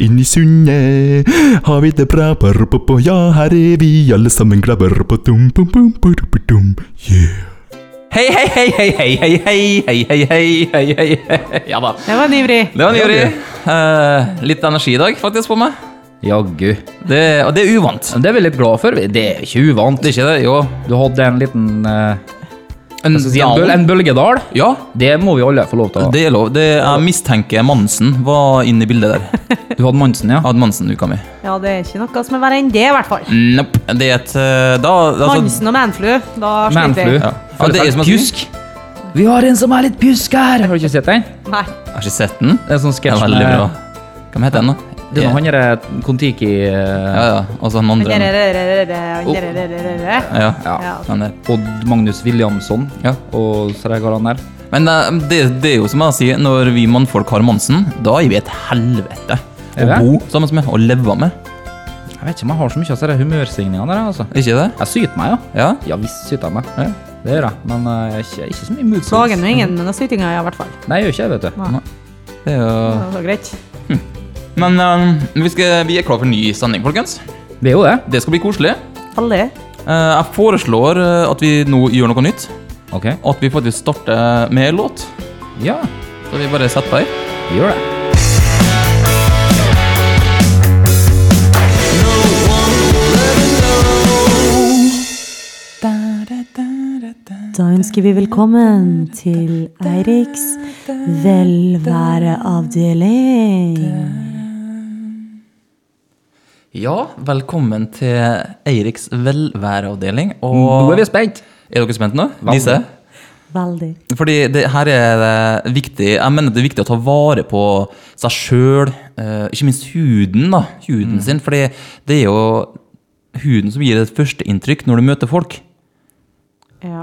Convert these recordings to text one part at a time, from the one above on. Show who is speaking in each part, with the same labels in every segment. Speaker 1: Inn i sundet har vi det bra. Ja, her er vi alle sammen glade. Yeah.
Speaker 2: Hei, hei, hei, hei, hei, hei, hei, hei, hei, hei, hei, hei, hei. Ja da.
Speaker 3: Det var en ivrig.
Speaker 2: Det var en jury. Eh, litt energi i dag, faktisk, på meg.
Speaker 4: Jaggu.
Speaker 2: Det, og det er uvant.
Speaker 4: Men Det er vi litt glad for. vi. Det er ikke uvant.
Speaker 2: Det er ikke det, jo.
Speaker 4: Du hadde en liten eh,
Speaker 2: En,
Speaker 4: hva skal jeg si, en, bøl, en bølgedal.
Speaker 2: Ja,
Speaker 4: Det må vi alle få lov til å ha.
Speaker 2: det er lov. Det, jeg mistenker Mansen var inne i bildet der.
Speaker 4: Du hadde Mansen, ja.
Speaker 2: Jeg hadde Mansen-uka mi.
Speaker 3: Ja, det er ikke noe som er verre enn det, i hvert fall.
Speaker 2: Nope. Det er et eh, Da altså,
Speaker 3: Hansen og Manflu, da sliter
Speaker 4: Manflu.
Speaker 3: vi.
Speaker 2: Ja.
Speaker 4: Føler
Speaker 2: Ja, det er
Speaker 4: seg
Speaker 2: som en-
Speaker 4: pjusk. Vi har en som er litt pjusk her! Har du ikke sett den?
Speaker 3: Nei.
Speaker 2: Jeg har ikke sett den.
Speaker 4: Det er en sånn
Speaker 2: Den
Speaker 4: sketsj
Speaker 2: er veldig bra. Hvem heter den, da?
Speaker 4: Det er noe han derre Kon-Tiki eh,
Speaker 2: Ja, ja. Og så han
Speaker 3: Han der,
Speaker 2: andre.
Speaker 3: der, der, der, der, der, der, der, der.
Speaker 2: Ja.
Speaker 3: Ja.
Speaker 2: Han der.
Speaker 4: Odd Magnus Williamson
Speaker 2: Ja.
Speaker 4: og så der går han der.
Speaker 2: Men eh, det, det er jo som jeg sier, når vi mannfolk har Monsen, da er vi et helvete
Speaker 4: Er
Speaker 2: å
Speaker 4: det?
Speaker 2: bo sammen med og leve med.
Speaker 4: Jeg vet ikke om jeg har så mye av disse humørsvingningene der, altså.
Speaker 2: Ikke det?
Speaker 4: Jeg syter meg, ja.
Speaker 2: Ja.
Speaker 4: Ja visst syter jeg meg. Det gjør jeg. Men eh, ikke, ikke så mye
Speaker 3: Plager
Speaker 4: moodsounds.
Speaker 3: nå ingen med noen sytinger, ja, i hvert fall.
Speaker 4: Nei, jeg gjør ikke det, vet du.
Speaker 3: Nei.
Speaker 2: Det er jo...
Speaker 3: Det var greit.
Speaker 2: Men eh, vi, skal, vi er klar for en ny sending, folkens.
Speaker 4: Det er jo det.
Speaker 2: Det skal bli koselig.
Speaker 3: Alle.
Speaker 2: Eh, jeg foreslår eh, at vi nå gjør noe nytt.
Speaker 4: Ok.
Speaker 2: At vi faktisk starter med en låt.
Speaker 4: Ja,
Speaker 2: Så vi bare setter på her.
Speaker 4: vi gjør det.
Speaker 5: Da ønsker vi velkommen til Eiriks velværeavdeling.
Speaker 2: Ja, velkommen til Eiriks velværeavdeling. Og
Speaker 4: Nå er vi spent.
Speaker 2: Er dere spent nå?
Speaker 4: Veldig.
Speaker 2: Lise?
Speaker 5: Veldig.
Speaker 2: Fordi det, her er det viktig Jeg mener det er viktig å ta vare på seg sjøl, eh, ikke minst huden, da. Huden
Speaker 3: Mm.
Speaker 2: sin. Fordi det er jo huden som gir deg et førsteinntrykk når du møter folk.
Speaker 3: Ja.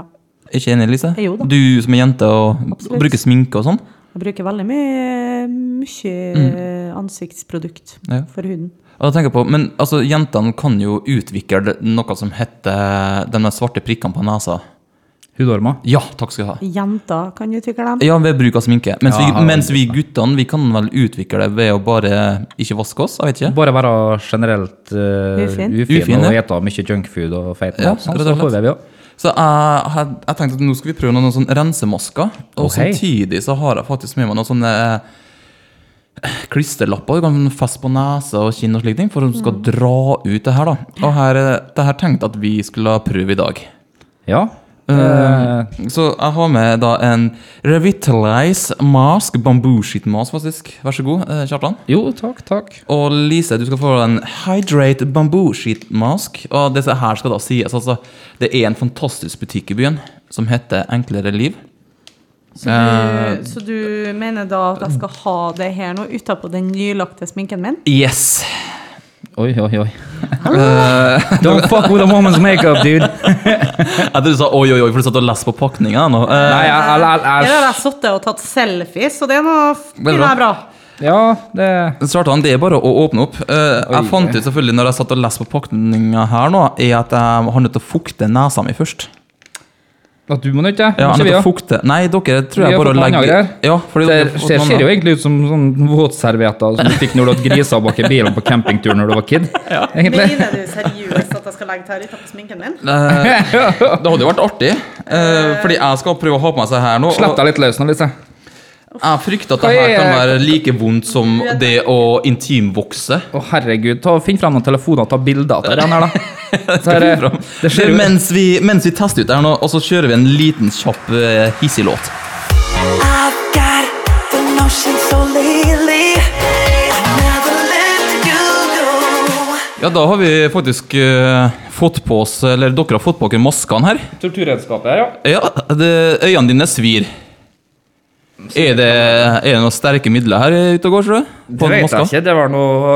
Speaker 2: Er ikke enig, Lise?
Speaker 3: Jo da.
Speaker 2: Du som er jente og, og
Speaker 3: Absolutt.
Speaker 2: bruker sminke og sånn.
Speaker 3: Jeg bruker veldig mye, mye ansiktsprodukt
Speaker 2: Mm. Ja.
Speaker 3: for huden.
Speaker 2: Og da tenker jeg på, Men altså, jentene kan jo utvikle noe som heter de der svarte prikkene på nesa.
Speaker 4: Hudorma.
Speaker 2: Ja, takk skal du ha.
Speaker 3: Jenter kan utvikle dem.
Speaker 2: Ja, ved bruk av sminke. Mens,
Speaker 4: Ja,
Speaker 2: vi,
Speaker 4: her-
Speaker 2: mens vi guttene vi kan vel utvikle det ved å bare ikke vaske oss. Jeg vet ikke.
Speaker 4: Bare være generelt eh,
Speaker 3: Ufin.
Speaker 4: ufin,
Speaker 2: Ufin,
Speaker 4: og
Speaker 2: ja.
Speaker 4: ete mye junkfood og feit
Speaker 2: Ja,
Speaker 4: mat. sånn,
Speaker 2: rett
Speaker 4: så
Speaker 2: og
Speaker 4: får
Speaker 2: slett.
Speaker 4: vi jo.
Speaker 2: Så jeg, had- jeg tenkte at nå skal vi prøve noen sånn rensemasker. Og
Speaker 4: Ok.
Speaker 2: samtidig så har jeg faktisk med meg noen sånne eh, klisterlapper du kan feste på nesa og kinn og slike ting for å skal dra ut det her. da. Og her, eh, det her tenkte jeg at vi skulle prøve i dag.
Speaker 4: Ja.
Speaker 2: Eh, Så jeg har med da en Revitalize mask, bambuskittmask faktisk. Vær så god, eh, Kjartan.
Speaker 4: Jo, takk, takk.
Speaker 2: Og Lise, du skal få en Hydrate Bamboo Sheet Mask. Og dette her skal da sies, altså Det er en fantastisk butikk i byen som heter Enklere liv.
Speaker 3: Så du, så du mener da at jeg skal ha det her nå utapå den nylagte sminken min?
Speaker 2: Yes!
Speaker 4: Oi, oi, oi.
Speaker 2: Eh.
Speaker 4: Don't fuck with a woman's makeup, dude.
Speaker 2: Jeg trodde du sa oi, oi, oi, for du satt og leste på pakninga nå. Eh,
Speaker 4: Nei, jeg, jeg,
Speaker 3: Her
Speaker 4: jeg,
Speaker 3: har jeg sittet og tatt selfies, og det er noe
Speaker 2: Veldig
Speaker 3: finner jeg bra.
Speaker 4: jeg Ja, det
Speaker 2: Svartan, det er bare å åpne opp. Eh,
Speaker 4: Oi.
Speaker 2: jeg fant ut selvfølgelig når jeg satt og leste på pakninga her nå, er at jeg har nødt til å fukte nesa mi først.
Speaker 4: At du må nødt til.
Speaker 2: Ja, jeg er
Speaker 4: ikke vi,
Speaker 2: nødt til
Speaker 4: ja.
Speaker 2: å fukte Nei, dere tror
Speaker 4: Vi
Speaker 2: jeg bare
Speaker 4: har
Speaker 2: å
Speaker 4: fått
Speaker 2: legge
Speaker 4: mange her.
Speaker 2: Ja, fordi
Speaker 4: Det
Speaker 2: dere har fått
Speaker 4: ser,
Speaker 2: mange.
Speaker 4: ser jo egentlig ut som sånn våtservietter som du fikk når du hadde grisa bak i bilen på campingtur når du var kid. Egentlig.
Speaker 3: Mener du seriøst at jeg skal legge det her utapå sminken min?
Speaker 2: Det hadde jo vært artig, eh, fordi jeg skal prøve å ha på meg seg her nå. og-
Speaker 4: Slett deg litt løs nå, Lise.
Speaker 2: Jeg frykter at
Speaker 4: Hva
Speaker 2: det her
Speaker 4: er-
Speaker 2: kan være like vondt som det å intimvokse.
Speaker 4: Å, herregud. Ta, finn frem noen telefoner og ta bilder av den her, da. Så
Speaker 2: Skal
Speaker 4: er
Speaker 2: vi
Speaker 4: det,
Speaker 2: fram?
Speaker 4: det ser
Speaker 2: Men
Speaker 4: ut
Speaker 2: mens, vi, mens vi tester ut det her nå, og så kjører vi en liten, kjapp, eh, hissig låt.
Speaker 6: I've got the notion so lately I never let you go
Speaker 2: Ja, da har vi faktisk eh, fått på oss Eller dere har fått på dere maskene her.
Speaker 4: Torturredskapet her, ja.
Speaker 2: Ja, det, Øynene dine svir. Er det, er det noen sterke midler her ute og går, tror du? På
Speaker 4: Det vet
Speaker 2: maskene?
Speaker 4: jeg ikke. Det var noe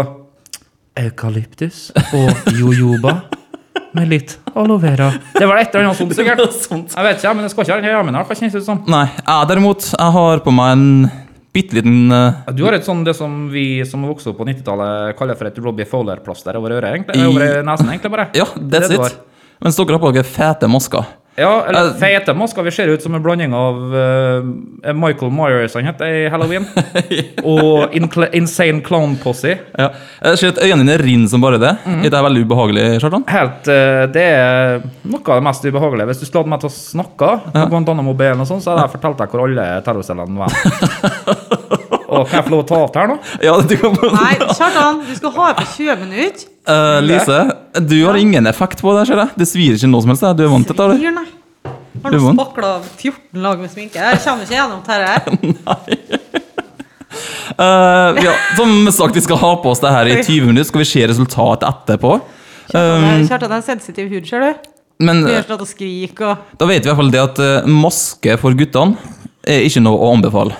Speaker 4: Eukalyptus og jojoba med litt aloe vera. Det var et eller annet sånt, sikkert. Jeg vet ikke, men det skal ikke være den armen her, hva kjennes det ut som?
Speaker 2: Nei. Jeg derimot, jeg har på meg en bitte liten eh,
Speaker 4: Du har et sånn, det som vi som vokste opp på 90-tallet, kaller for et Robbie Fowler-plaster over øret, egentlig.
Speaker 2: I-
Speaker 4: Over nesen, egentlig, bare.
Speaker 2: Ja,
Speaker 4: Det
Speaker 2: that's
Speaker 4: er det du
Speaker 2: it. Mens dere har på dere fete masker.
Speaker 4: Ja, eller
Speaker 2: Eh,
Speaker 4: feite masker. Vi ser ut som en blanding av eh, Michael Myers, han heter i Halloween, og Incle- Insane Clown Posse.
Speaker 2: Ja. Jeg ser at øynene dine rinner som bare det.
Speaker 4: Mhm.
Speaker 2: Er det veldig ubehagelig, Kjartan?
Speaker 4: Helt, eh, det er noe av det mest ubehagelige. Hvis du slår meg til å snakke, på Guantanamo Bay, eller noe sånt, sånn, så hadde jeg fortalt deg hvor alle terrorcellene var. og kan jeg få lov å ta av det her nå?
Speaker 2: Ja, du kan
Speaker 3: Nei, Kjartan, du skal ha det på 20 minutter.
Speaker 2: Eh, Lise, du har ingen effekt på det, ser jeg. Det svir ikke noe som helst. det. Du er vant til det. eller?
Speaker 3: Svir, nei. Har
Speaker 2: Du
Speaker 3: nå
Speaker 2: vant.
Speaker 3: spakla av 14 lag med sminke. Jeg kommer ikke gjennom dette her.
Speaker 2: Eh, ja, som sagt, vi skal ha på oss det her i 20 minutter. Skal vi se resultatet etterpå? Ehm.
Speaker 3: Kjartan, Kjartan er en sensitiv hud, ser du. sånn
Speaker 2: Men eh,
Speaker 3: Begynner slått å skrike og
Speaker 2: da vet vi i hvert fall det at eh, maske for guttene er ikke noe å anbefale.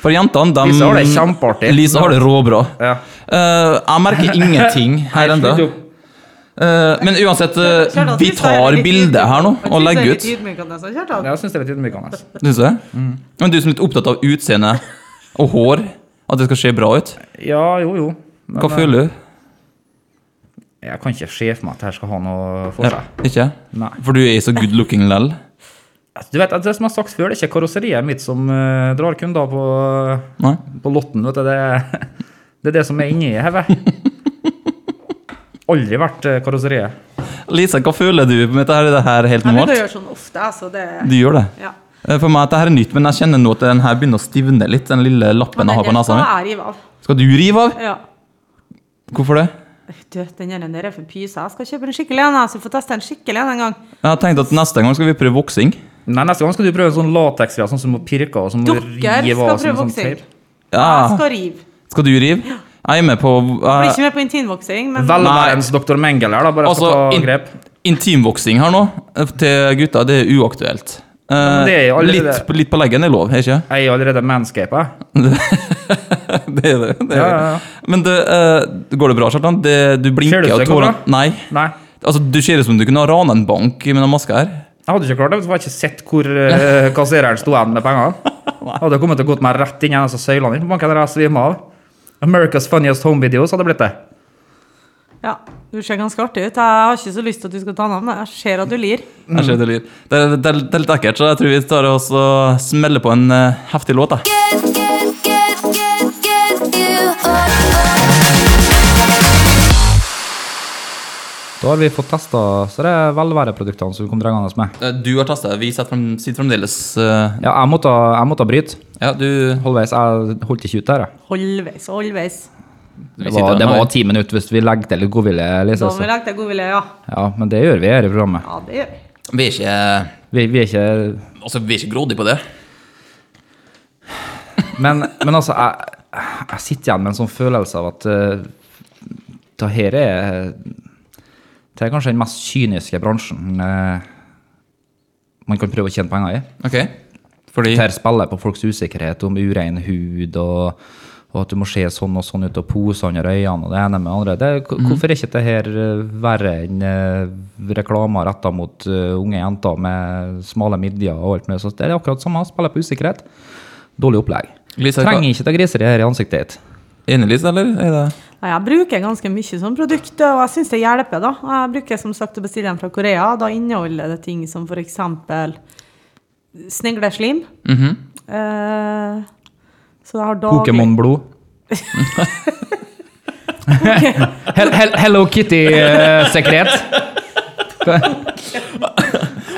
Speaker 2: For jentene, de
Speaker 4: Lise har det kjempeartig.
Speaker 2: Lise har det råbra.
Speaker 4: Ja.
Speaker 2: Eh, jeg merker ingenting her ennå.
Speaker 4: Slutt opp.
Speaker 2: men uansett, eh,
Speaker 3: Kjartan,
Speaker 2: vi
Speaker 3: synes jeg er
Speaker 2: tar
Speaker 3: litt
Speaker 2: bildet
Speaker 3: ydmyk-
Speaker 2: her nå
Speaker 3: Jeg
Speaker 2: og
Speaker 3: synes jeg
Speaker 2: legger
Speaker 3: er
Speaker 2: ut.
Speaker 3: litt ydmykende, altså, Kjartan.
Speaker 4: Jeg syns det er litt ydmykende.
Speaker 2: Synes jeg. Men du som er litt opptatt av utseende og hår, at det skal se bra ut,
Speaker 4: Ja, jo, jo. Men,
Speaker 2: hva
Speaker 4: eh,
Speaker 2: føler du?
Speaker 4: Jeg kan ikke se for meg at det her skal ha noe for
Speaker 2: Ja,
Speaker 4: seg.
Speaker 2: ikke?
Speaker 4: Nei.
Speaker 2: For du er så good looking lell.
Speaker 4: Altså, Du vet, Det som jeg har sagt før, det er ikke karosseriet mitt som eh, drar kunder på,
Speaker 2: Nei?
Speaker 4: på lotten. vet du. Det, er- det er det som er inni hodet. Aldri vært eh, karosseriet.
Speaker 2: Lisa, hva føler du med dette? her? Er det her helt
Speaker 3: Jeg bruker å
Speaker 2: normalt?
Speaker 3: gjøre sånn ofte, altså. Det
Speaker 2: Du gjør det?
Speaker 3: ja.
Speaker 2: Eh, For meg at dette er nytt, men jeg kjenner nå at den her begynner å stivne litt, den lille lappen jeg har på
Speaker 3: den
Speaker 2: nesa
Speaker 3: skal
Speaker 2: mi.
Speaker 3: jeg rive av.
Speaker 2: Skal du rive av?
Speaker 3: Ja.
Speaker 2: Hvorfor det?
Speaker 3: Du, den ene der er for pyse. Jeg skal kjøpe en skikkelig en, jeg, så jeg får teste en skikkelig en en gang.
Speaker 2: Jeg har tenkt at neste gang skal vi prøve voksing.
Speaker 4: Nei, Neste gang skal du prøve en sånn lateksgreie sånn som må pirke og som må
Speaker 3: Dere
Speaker 4: rive av. som en
Speaker 3: skal prøve
Speaker 4: sånn
Speaker 3: voksing.
Speaker 4: teip.
Speaker 3: Jeg
Speaker 2: Ja,
Speaker 3: skal rive.
Speaker 2: skal du rive? Jeg er med på
Speaker 3: Jeg blir
Speaker 2: eh,
Speaker 3: ikke med på intimvoksing, men
Speaker 4: Vel
Speaker 2: Nei.
Speaker 4: værens doktor Mengel her, da. Bare
Speaker 2: Altså,
Speaker 4: for å ta
Speaker 2: in-
Speaker 4: grep.
Speaker 2: intimvoksing her nå eh, til gutta, det er uaktuelt. Eh,
Speaker 4: men det er jo allerede-
Speaker 2: litt, på- litt på leggen er lov, er ikke?
Speaker 4: Jeg er allerede manscapa. jeg.
Speaker 2: Det er det. det, er det.
Speaker 4: Ja, ja, ja.
Speaker 2: Men det, eh, går det bra, Kjartan? Det, du
Speaker 4: Ser
Speaker 2: blinker
Speaker 4: du
Speaker 2: og
Speaker 4: det går
Speaker 2: tårene
Speaker 4: bra?
Speaker 2: Nei.
Speaker 4: Nei.
Speaker 2: Altså, du ser ut som du kunne ha rana en bank med den maska her.
Speaker 4: Jeg hadde ikke klart det. for Jeg hadde ikke sett hvor eh, kassereren sto igjen med pengene. Jeg hadde kommet til å gått meg rett inn i en av disse søylene inn på banken der jeg svimmer av. America's Funniest Home Videos hadde blitt det.
Speaker 3: ja, du ser ganske artig ut. Jeg har ikke så lyst til at du skal ta den av meg. Jeg ser at du lir.
Speaker 2: Jeg
Speaker 4: Mm.
Speaker 2: ser Det, lir. det, er- det, er- det er litt ekkelt, så jeg tror vi tar oss og smeller på en eh, heftig låt. Da.
Speaker 4: Da har vi fått testa så det er velværeproduktene som vi kom drengende med.
Speaker 2: Eh, Du har tasta, vi sitter frem- sitter fremdeles eh,
Speaker 4: Ja, jeg måtte, jeg måtte bryte.
Speaker 2: Ja, du
Speaker 4: Halvveis. Jeg holdt ikke ut der, jeg.
Speaker 3: Halvveis, halvveis.
Speaker 2: vi
Speaker 4: Det
Speaker 2: sitter her
Speaker 4: var, det
Speaker 2: nå,
Speaker 4: var
Speaker 2: ja.
Speaker 4: ti minutter hvis vi legger til litt godvilje. Lise,
Speaker 3: Da må vi
Speaker 4: så.
Speaker 3: legge til godvilje, ja.
Speaker 4: Ja, men det gjør vi her i programmet.
Speaker 3: Ja, det gjør vi.
Speaker 2: Vi er ikke,
Speaker 4: Vi, vi er ikke
Speaker 2: altså, vi er ikke grådige på det.
Speaker 4: Men, men altså, jeg, jeg sitter igjen med en sånn følelse av at uh, det her er Det er kanskje den mest kyniske bransjen eh, man kan prøve å tjene penger i.
Speaker 2: Ok, fordi
Speaker 4: Her spiller jeg på folks usikkerhet om urein hud og, og at du må se sånn og sånn ut og pose under øynene og det ene med det andre. Det, hvor-
Speaker 2: Mhm.
Speaker 4: hvorfor er ikke det her eh, verre enn eh, reklamer retta mot eh, unge jenter med smale midjer og alt mulig sånt? Det er akkurat samme, spiller på usikkerhet. Dårlig opplegg.
Speaker 2: Lisa, hva-
Speaker 4: Trenger ikke ta griseriet her i ansiktet ditt.
Speaker 2: Enelys, eller? Er det?
Speaker 3: Nei, jeg bruker ganske mye sånn produkt, og jeg syns det hjelper, da. Jeg bruker som sagt å bestille den fra Korea. Da inneholder det ting som for eksempel snegleslim. eh, så jeg har daglig
Speaker 4: Pokémon-blod. Hel- hel- Hello eh, Kitty-sekret.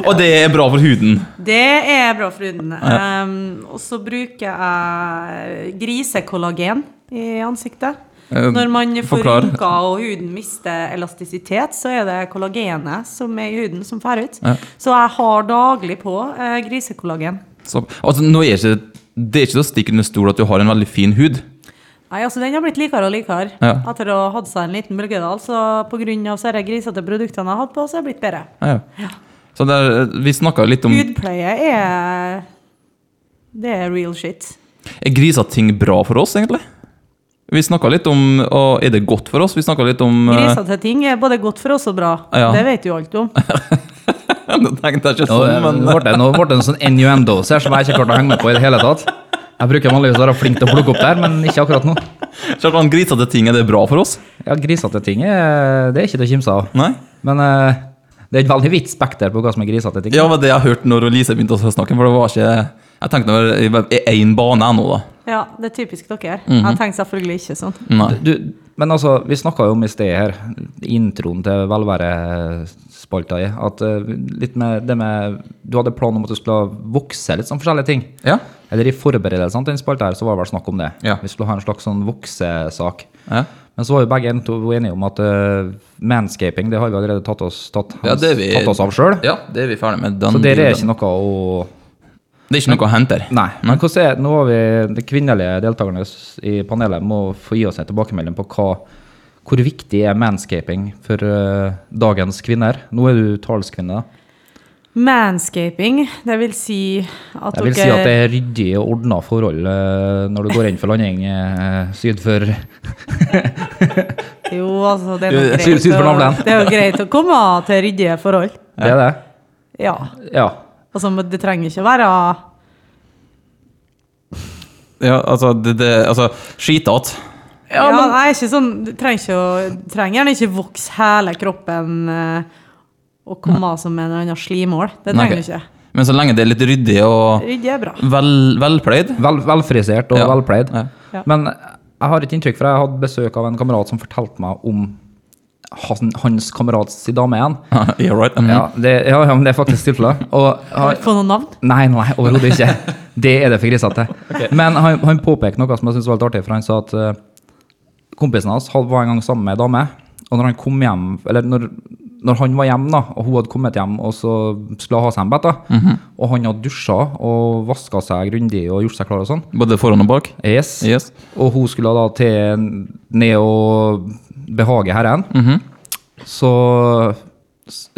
Speaker 2: Og det er bra for huden.
Speaker 3: Det er bra for huden. Um, og så bruker jeg grisekollagen i ansiktet.
Speaker 2: Eh,
Speaker 3: Når man får
Speaker 2: forklar.
Speaker 3: rynker og huden mister elastisitet, så er det kollagenet som er i huden, som fer ut.
Speaker 2: Ja.
Speaker 3: Så jeg har daglig på eh, grisekollagen.
Speaker 2: Så, altså, nå er ikke, det er ikke til å stikke under stol at du har en veldig fin hud.
Speaker 3: Nei, altså Den har blitt likere og likere
Speaker 2: Ja.
Speaker 3: etter å ha hatt seg en liten bølgedal. Så pga. de grisete produktene jeg har hatt på, så har jeg blitt bedre.
Speaker 2: Ja. Så det er- vi snakka litt om
Speaker 3: Hudpleie er Det er real shit.
Speaker 2: Er griser ting bra for oss, egentlig? Vi snakka litt om og Er det godt for oss? Vi snakka litt om eh,
Speaker 3: Grisete ting er både godt for oss og bra.
Speaker 2: Ja.
Speaker 3: Det vet du jo alt om.
Speaker 2: Nå tenkte jeg ikke
Speaker 4: Nå
Speaker 2: sånn, men
Speaker 4: ble det- nå ble det en sånn innuendos her som jeg ikke klarte å henge med på i det hele tatt. Jeg bruker vanligvis å være flink til å plukke opp der, men ikke akkurat nå.
Speaker 2: Kjartan, grisete ting, er det bra for oss?
Speaker 4: Ja, Grisete ting er, det er ikke til å kimse av.
Speaker 2: Nei?
Speaker 4: Men eh, Det er et veldig vidt spekter på hva som er grisete ting.
Speaker 2: Ja, men det jeg har hørt når Lise begynte å snakke, for det var ikke Jeg tenkte nå er det én bane jeg nå, da.
Speaker 3: Ja, det er typisk dere.
Speaker 4: Mhm.
Speaker 3: Jeg tenker selvfølgelig ikke sånn.
Speaker 2: Nei.
Speaker 4: Du, men altså, vi snakka jo om i sted her, introen til velværespalta i, at eh, litt med det med Du hadde plan om at du skulle vokse litt sånn forskjellige ting.
Speaker 2: Ja.
Speaker 4: Eller i forberedelsene til den spalta her, så var det vel snakk om det.
Speaker 2: Ja.
Speaker 4: Vi skulle ha en slags sånn voksesak.
Speaker 2: Ja.
Speaker 4: Men så var jo begge en- to enige om at eh, manscaping, det har vi allerede tatt oss, tatt,
Speaker 2: Ja, det er vi-
Speaker 4: tatt oss av sjøl.
Speaker 2: ja, det er vi ferdig med. Den
Speaker 4: Så dere er
Speaker 2: delen.
Speaker 4: ikke noe å
Speaker 2: det er ikke noe å hente her.
Speaker 4: Nei. Men hvordan er, nå har vi de kvinnelige deltakerne s- i panelet må få gi oss en tilbakemelding på hva, hvor viktig er manscaping for eh, dagens kvinner. Nå er du talskvinne. da.
Speaker 3: Manscaping, det vil si at
Speaker 4: Jeg vil si at det er ryddige og ordna forhold eh, når du går inn for landing eh, syd for
Speaker 3: Jo, altså, det er,
Speaker 4: Du,
Speaker 3: nok
Speaker 4: skyld-
Speaker 3: greit
Speaker 4: skyld for
Speaker 3: å,
Speaker 4: navlen.
Speaker 3: det er jo greit å komme til ryddige forhold.
Speaker 4: Det er det?
Speaker 3: Ja.
Speaker 4: Ja.
Speaker 3: Altså, men det trenger ikke å være
Speaker 2: Ja, altså, det, det, altså Skitete.
Speaker 3: Ja, nei, ikke sånn Du trenger ikke å Trenger gjerne ikke vokse hele kroppen eh, og komme av som en eller annen slimål. Det
Speaker 2: Nei,
Speaker 3: trenger du
Speaker 2: ok.
Speaker 3: ikke.
Speaker 2: Men så lenge det er litt ryddig og
Speaker 3: Ryddig er bra.
Speaker 2: vel, velpløyd
Speaker 4: Vel, velfrisert og
Speaker 2: Ja.
Speaker 4: velpleid.
Speaker 2: Ja.
Speaker 3: Ja.
Speaker 4: Men jeg har et inntrykk, for jeg hadde besøk av en kamerat som fortalte meg om han, hans kamerats dame igjen.
Speaker 2: Yeah, right. mhm.
Speaker 4: Ja, det, ja, ja, men det er faktisk tilfellet. Og har-
Speaker 3: Få noen navn?
Speaker 4: Nei, nei, overhodet ikke. Det er det for grisete. Men han, han påpekte noe som jeg syntes var litt artig, for han sa at eh, kompisen hans hadde- var en gang sammen med ei dame, og når han kom hjem, eller når, når han var hjemme, da, og hun hadde kommet hjem og så skulle ha seg en bit, da, og han hadde dusja og vaska seg grundig og gjort seg klar og sånn,
Speaker 2: Både foran og bak.
Speaker 4: yes.
Speaker 2: Yes.
Speaker 4: og hun skulle da til ned og behage herren,
Speaker 2: Mhm.
Speaker 4: så s-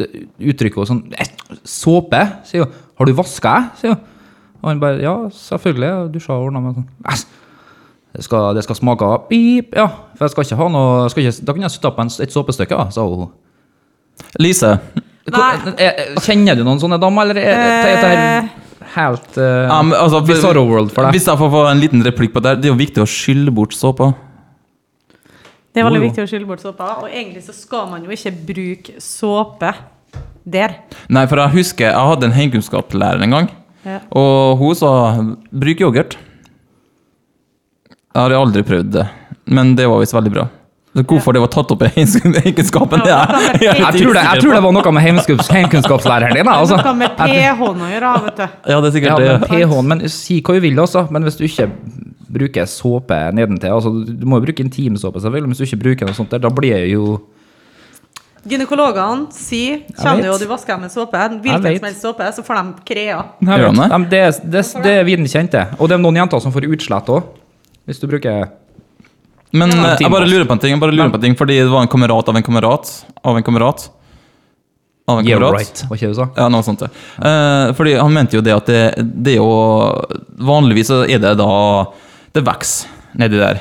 Speaker 4: uttrykker hun sånn «Eh, Såpe, sier hun. Har du vaska deg? sier hun. Og han bare Ja, selvfølgelig. Du sa ordna meg sånn. «Æsj, Det skal, det skal smake av pip, ja. For jeg skal ikke ha noe jeg skal ikke, Da kan jeg sitte på en, s- et såpestykke, da, sa hun.
Speaker 2: Lise,
Speaker 4: Hvor- eh, eh, Kjenner du noen sånne damer, eller er er dette her helt eh,
Speaker 2: Ja, men altså,
Speaker 4: Bizarro world for deg.
Speaker 2: Hvis jeg får få en liten replikk på det, her, det er jo viktig å skylle bort såpa.
Speaker 3: Det er veldig
Speaker 4: Jo, jo.
Speaker 3: viktig å skille bort såpa. Og egentlig så skal man jo ikke bruke såpe der.
Speaker 2: Nei, for jeg husker jeg hadde en heimkunnskapslærer en gang,
Speaker 3: Ja.
Speaker 2: og hun sa 'bruk yoghurt'. Jeg har aldri prøvd det, men det var visst veldig bra. Så Hvorfor det var tatt opp i heimkunnskapen, det er jeg
Speaker 4: jeg, tror det, jeg tror det var noe med heimkunnskaps- heimkunnskapslæreren din. da, Altså.
Speaker 3: Noe med ph-en å gjøre, vet du.
Speaker 2: Ja, det er sikkert
Speaker 4: Ja, men
Speaker 2: det.
Speaker 4: pH-en, men si hva du vil, altså. Men hvis du ikke bruker såpe nedentil altså, Du må jo bruke intimsåpe, selvfølgelig, men hvis du ikke bruker noe sånt der, da blir det jo
Speaker 3: Gynekologene sier
Speaker 4: vet.
Speaker 3: Kjenner jo du vasker med såpe, hvilken
Speaker 4: vet.
Speaker 3: som helst såpe, så får de krea.
Speaker 2: Gjør han det?
Speaker 4: Nei, men det, det, det er viden kjent, det. Og det er noen jenter som får utslett òg, hvis du bruker
Speaker 2: Men
Speaker 4: Ja.
Speaker 2: eh, jeg bare lurer på en ting, jeg bare lurer på en ting, fordi det var en kamerat av en kamerat av en kamerat. Av en
Speaker 4: Yeah,
Speaker 2: kamerat.
Speaker 4: right, var ikke det du sa?
Speaker 2: Ja, noe sånt. ja. Eh, fordi han mente jo det at det, det er jo Vanligvis så er det da Det vokser nedi der.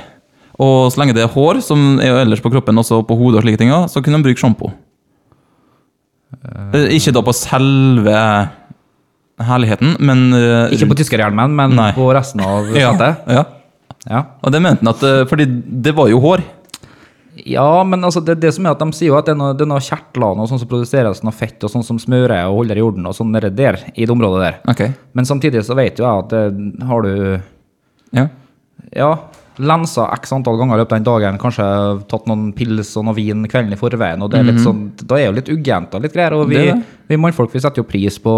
Speaker 2: Og så lenge det er hår, som er jo ellers på kroppen, også på hodet og slike ting, så kunne han bruke sjampo. Eh, Ikke da på selve herligheten, men eh,
Speaker 4: Ikke på tyskerhjelmen, men
Speaker 2: Nei.
Speaker 4: på resten av
Speaker 2: ja,
Speaker 4: settet?
Speaker 2: ja.
Speaker 4: Ja.
Speaker 2: Og det mente han at eh, Fordi det var jo hår.
Speaker 4: Ja, men altså det, det som er at de sier jo at det er noe, det er noe kjertlene og sånn som produseres noe fett, og sånn som smører og holder i jorden og sånn der, der i det området der.
Speaker 2: Ok.
Speaker 4: Men samtidig så vet jo jeg at eh, har du
Speaker 2: Ja.
Speaker 4: ja, lensa x antall ganger i løpet av den dagen, kanskje tatt noen pils og noe vin kvelden i forveien, og det er litt sånn, da er jo litt uggent og litt greier. Og
Speaker 2: Mhm. Det
Speaker 4: vi,
Speaker 2: er det.
Speaker 4: vi mannfolk vi setter jo pris på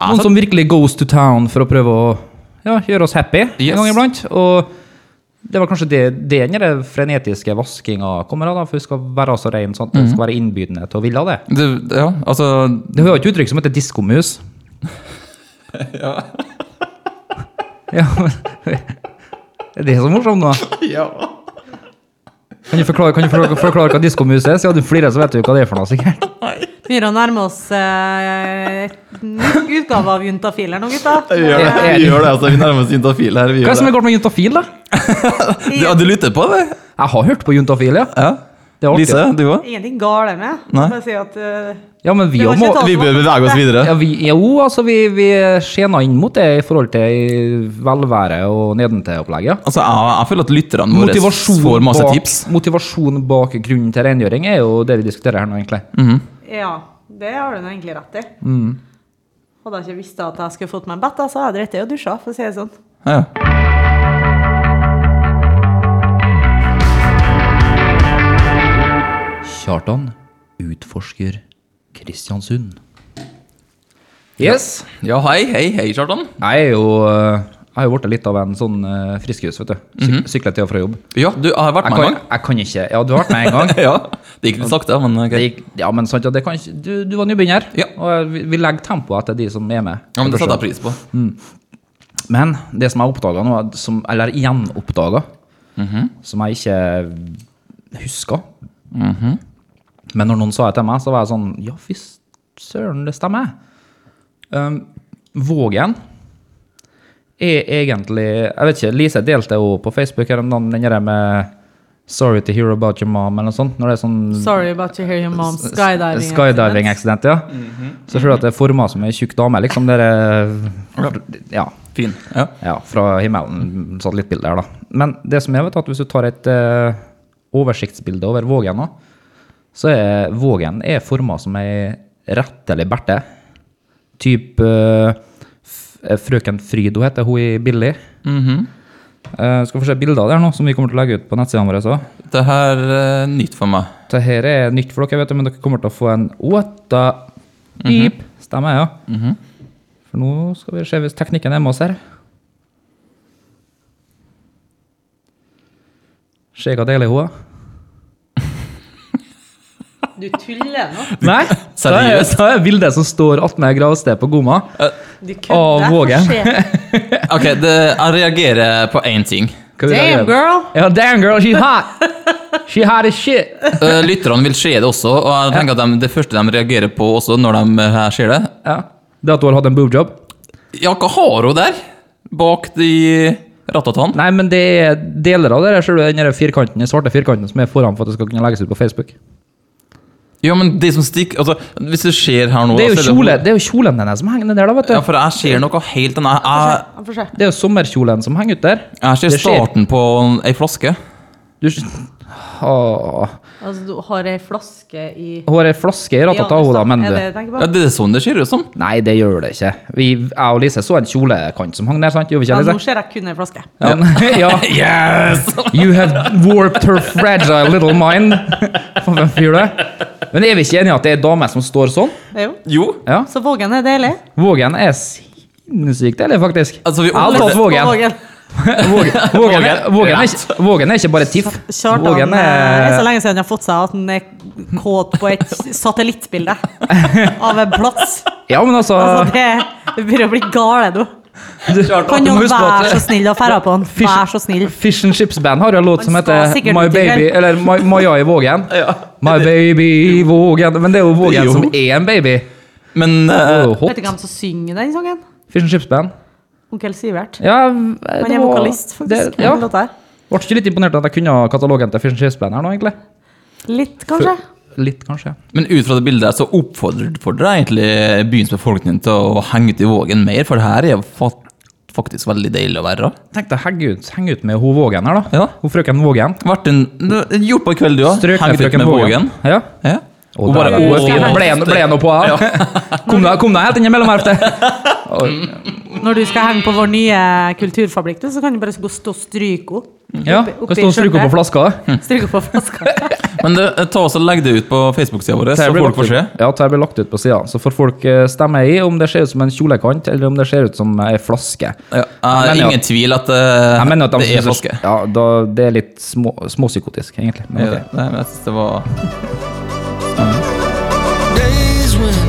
Speaker 4: noen som virkelig goes to town for å prøve å ja, gjøre oss happy
Speaker 2: Yes.
Speaker 4: en gang iblant. og det var kanskje det, det den der frenetiske vaskinga kommer av, da, for vi skal være så rein sånn at
Speaker 2: Mhm.
Speaker 4: det skal være innbydende til å ville det.
Speaker 2: Det, ja, altså
Speaker 4: Det har jo et uttrykk som heter diskomus. ja. men- Er det så morsomt nå? Ja. Kan du forklare, kan du forklare, forklare hva diskomus er? Siden du flirer, så vet du jo hva det er for noe, sikkert.
Speaker 3: Begynner å nærme oss eh, en ny utgave av Juntafil her nå, gutta.
Speaker 1: gjør
Speaker 4: det. Vi gjør
Speaker 1: det, altså. Vi nærmer oss juntafil her.
Speaker 4: Hva er det som er godt med juntafil, da?
Speaker 2: Ja, du lytter på det?
Speaker 4: Jeg har hørt på juntafil, ja.
Speaker 2: Ja.
Speaker 4: Det er
Speaker 2: Lise,
Speaker 4: artig.
Speaker 2: du òg?
Speaker 3: Ingenting galt med.
Speaker 2: Nei.
Speaker 3: Bare si at eh,
Speaker 4: Ja, men vi
Speaker 3: det var
Speaker 4: jo må
Speaker 3: ikke et
Speaker 1: Vi bør bevege oss videre.
Speaker 4: ja, vi, Jo, altså, vi, vi skjena inn mot det i forhold til i velvære og nedentil-opplegget.
Speaker 2: Altså, jeg, jeg føler at lytterne våre
Speaker 4: Motivasjon,
Speaker 2: får masse
Speaker 4: bak-
Speaker 2: tips.
Speaker 4: motivasjon bak grunnen til rengjøring er jo det vi diskuterer her nå, egentlig.
Speaker 3: Ja. Det har du nå egentlig rett i.
Speaker 4: Mm.
Speaker 3: Hadde jeg ikke visst at jeg skulle fått meg en bett, så hadde jeg dritt i å dusje, for å si det sånn.
Speaker 2: Ja.
Speaker 4: Kjartan utforsker Kristiansund. Yes.
Speaker 2: ja, hei, hei, hei, Kjartan.
Speaker 4: Jeg er jo eh, jeg har jo blitt litt av en sånn eh, friskus, vet du. Syk Syklet til og fra jobb.
Speaker 2: Ja, du Mhm. jeg har vært
Speaker 4: Jeg
Speaker 2: med en
Speaker 4: kan,
Speaker 2: gang.
Speaker 4: jeg kan ikke Ja, du har vært med en gang.
Speaker 2: Ja, Det gikk litt sakte, men ok.
Speaker 4: Det gikk, ja, men sant, ja, det kan ikke Du, du var nybegynner,
Speaker 2: Ja.
Speaker 4: og vi, vi legger tempoet etter de som er med.
Speaker 2: Ja, men Det setter jeg pris på.
Speaker 4: Men det som jeg oppdaga nå, som, eller gjenoppdaga, som jeg ikke huska Men når noen sa det til meg, så var jeg sånn Ja, fy søren, det stemmer. Um, Vågen er egentlig Jeg vet ikke, Lise delte jo på Facebook her om dagen den der med 'Sorry to hear about your mom', eller noe sånt. Når det er sånn
Speaker 3: Sorry about to hear your mom's skydiving.
Speaker 4: skydiving accident, ja. Så føler jeg at det er forma som ei tjukk dame, liksom. Der, ja,
Speaker 2: Fin. Ja.
Speaker 4: ja, fra himmelen. Satellittbildet her, da. Men det som er, vet du, at hvis du tar et eh, oversiktsbilde over Vågen nå, så er Vågen er forma som ei rettelig berte. Typ eh, f- eh, Frøken Fryd, hun heter hun i Billy. Mhm. Eh, skal få se bilder der nå, som vi kommer til å legge ut på nettsidene våre. Så.
Speaker 2: Det her er nytt for meg.
Speaker 4: Det her er nytt for dere, vet du, men dere kommer til å få en What the
Speaker 3: Mhm.
Speaker 4: beep. Stemmer, ja. For nå skal vi se hvis teknikken er med oss her. Se hva deilig hun er.
Speaker 3: Du tuller nå.
Speaker 4: Nei,
Speaker 2: Seriøst?
Speaker 4: seriøst? Det er bildet som står attmed gravstedet på Goma.
Speaker 3: Du
Speaker 4: Å, Våge.
Speaker 2: Eh, Ok, det, Jeg reagerer på én ting.
Speaker 4: Hva vil jeg
Speaker 3: Damn,
Speaker 4: gjøre?
Speaker 3: girl!
Speaker 4: Ja, damn girl, she hot! She hot as shit!
Speaker 2: Eh, Lytterne vil se det også, og jeg tenker at de, det første de reagerer på også når de eh, ser det
Speaker 4: Ja. Det at du har hatt en boobjob?
Speaker 2: Ja, hva har hun der? Bak de ratatene?
Speaker 4: Nei, men det er deler av det der, ser du den der firkanten, den svarte firkanten som er foran for at det skal kunne legges ut på Facebook.
Speaker 2: Ja, men de som stikker Altså, hvis du ser her nå
Speaker 4: Det er
Speaker 2: da,
Speaker 4: jo,
Speaker 2: så er
Speaker 4: kjole, det er jo kjolen hennes som henger ned der, da, vet du.
Speaker 2: Ja, for jeg ser noe helt annet. Jeg,
Speaker 3: Jeg får se.
Speaker 4: Det er jo sommerkjolen som henger ut der.
Speaker 2: jeg ser
Speaker 4: Det skjer.
Speaker 2: starten på ei flaske.
Speaker 4: Du, Åh.
Speaker 3: Altså, du har ei flaske i
Speaker 4: hun har ei flaske i ratata, hun da, men
Speaker 3: Er det jeg tenker
Speaker 2: Ja,
Speaker 3: på?
Speaker 2: det er sånn det ser ut som.
Speaker 4: Nei, det gjør det ikke. Vi, jeg og Lise så en kjolekant som hang der, sant? Gjorde vi
Speaker 3: Ja,
Speaker 4: ikke
Speaker 3: nå
Speaker 4: det? liksom.
Speaker 3: ser jeg kun ei flaske.
Speaker 4: Ja. ja.
Speaker 2: Yes!
Speaker 4: You have warped her fragile little mind. For hvem fyr det? Men er vi ikke enige at det er dame som står sånn?
Speaker 3: Det er jo.
Speaker 2: Jo.
Speaker 4: Ja.
Speaker 3: Så Vågen er deilig.
Speaker 4: Vågen er sinnssykt deilig, faktisk.
Speaker 2: Altså, vi
Speaker 4: Jeg hadde tatt
Speaker 2: overlever-
Speaker 4: Vågen. Vågen, Vågen, er, Vågen, er ikke, Vågen er ikke bare tiff.
Speaker 3: Kjartan
Speaker 4: Vågen
Speaker 3: eh, er så
Speaker 4: er
Speaker 3: lenge siden han har fått seg at han er kåt på et satellittbilde av en plass.
Speaker 4: Ja, men
Speaker 3: Altså, det Du begynner å bli gal, du. Kan
Speaker 4: du må
Speaker 3: noen
Speaker 4: huske på at-
Speaker 3: være så snill å ferde på han?
Speaker 4: Fish-
Speaker 3: Vær så snill.
Speaker 4: Fish and Chips Band har jo en låt som
Speaker 3: Man skal
Speaker 4: heter
Speaker 3: sikkert
Speaker 4: My
Speaker 3: ut i
Speaker 4: Baby
Speaker 3: kveld.
Speaker 4: Eller My, Maja i Vågen. My Baby Vågen. Men det er jo Vågen
Speaker 2: Jo.
Speaker 4: som er en baby.
Speaker 2: Men
Speaker 4: Det
Speaker 2: eh,
Speaker 4: er jo hot.
Speaker 3: Vet du hvem som synger den sangen?
Speaker 4: Fish and Chips Band.
Speaker 3: Onkel Sivert.
Speaker 4: Ja,
Speaker 3: Han er vokalist, faktisk.
Speaker 4: Det, ja.
Speaker 3: på den låta her.
Speaker 4: Ble ikke litt imponert at jeg kunne katalogen til Fish and Chips Band her nå, egentlig?
Speaker 3: Litt, kanskje.
Speaker 4: Litt, kanskje.
Speaker 2: Men ut fra det bildet her så oppfordrer oppfordrer jeg egentlig byens befolkning til å henge ut i Vågen mer, for det her er jo fa- faktisk veldig deilig å være.
Speaker 4: Tenk deg å henge ut, henge ut med hun Vågen her, da.
Speaker 2: Ja.
Speaker 4: Hun frøken Vågen.
Speaker 2: Vært en, du- gjort på en kveld, du òg.
Speaker 4: Strøk med frøken Vågen. Ja.
Speaker 2: Ja.
Speaker 4: Og
Speaker 2: Og bare
Speaker 4: der er hun.
Speaker 2: Å,
Speaker 4: Ble jeg- ble jeg nå på henne? Kom deg kom deg helt inn i mellomhverftet.
Speaker 3: Når du skal henge på vår nye kulturfabrikk, du, så kan du bare gå og stå og stryke henne.
Speaker 4: Ja,
Speaker 3: Oppi-
Speaker 4: hva
Speaker 3: oppi
Speaker 4: står og
Speaker 3: skjørtet.
Speaker 4: stryker på flaska? da?
Speaker 3: Stryke på flaska.
Speaker 2: Men det, ta oss og legg det ut på Facebook-sida vår, så
Speaker 4: Dette blir
Speaker 2: folk får
Speaker 4: lagt
Speaker 2: se.
Speaker 4: ut- Ja, dette blir lagt ut på sida. Så får folk eh, stemme i om det ser ut som en kjolekant, eller om det ser ut som ei flaske.
Speaker 2: Ja, jeg
Speaker 4: Men
Speaker 2: er
Speaker 4: ja.
Speaker 2: ingen tvil at eh,
Speaker 4: Jeg mener at de
Speaker 2: det er
Speaker 4: synes-
Speaker 2: flaske.
Speaker 4: Ja, da, det er litt små, småpsykotisk, egentlig. Men,
Speaker 2: Ja,
Speaker 4: ok.
Speaker 2: Nei, men jeg synes det var
Speaker 7: days when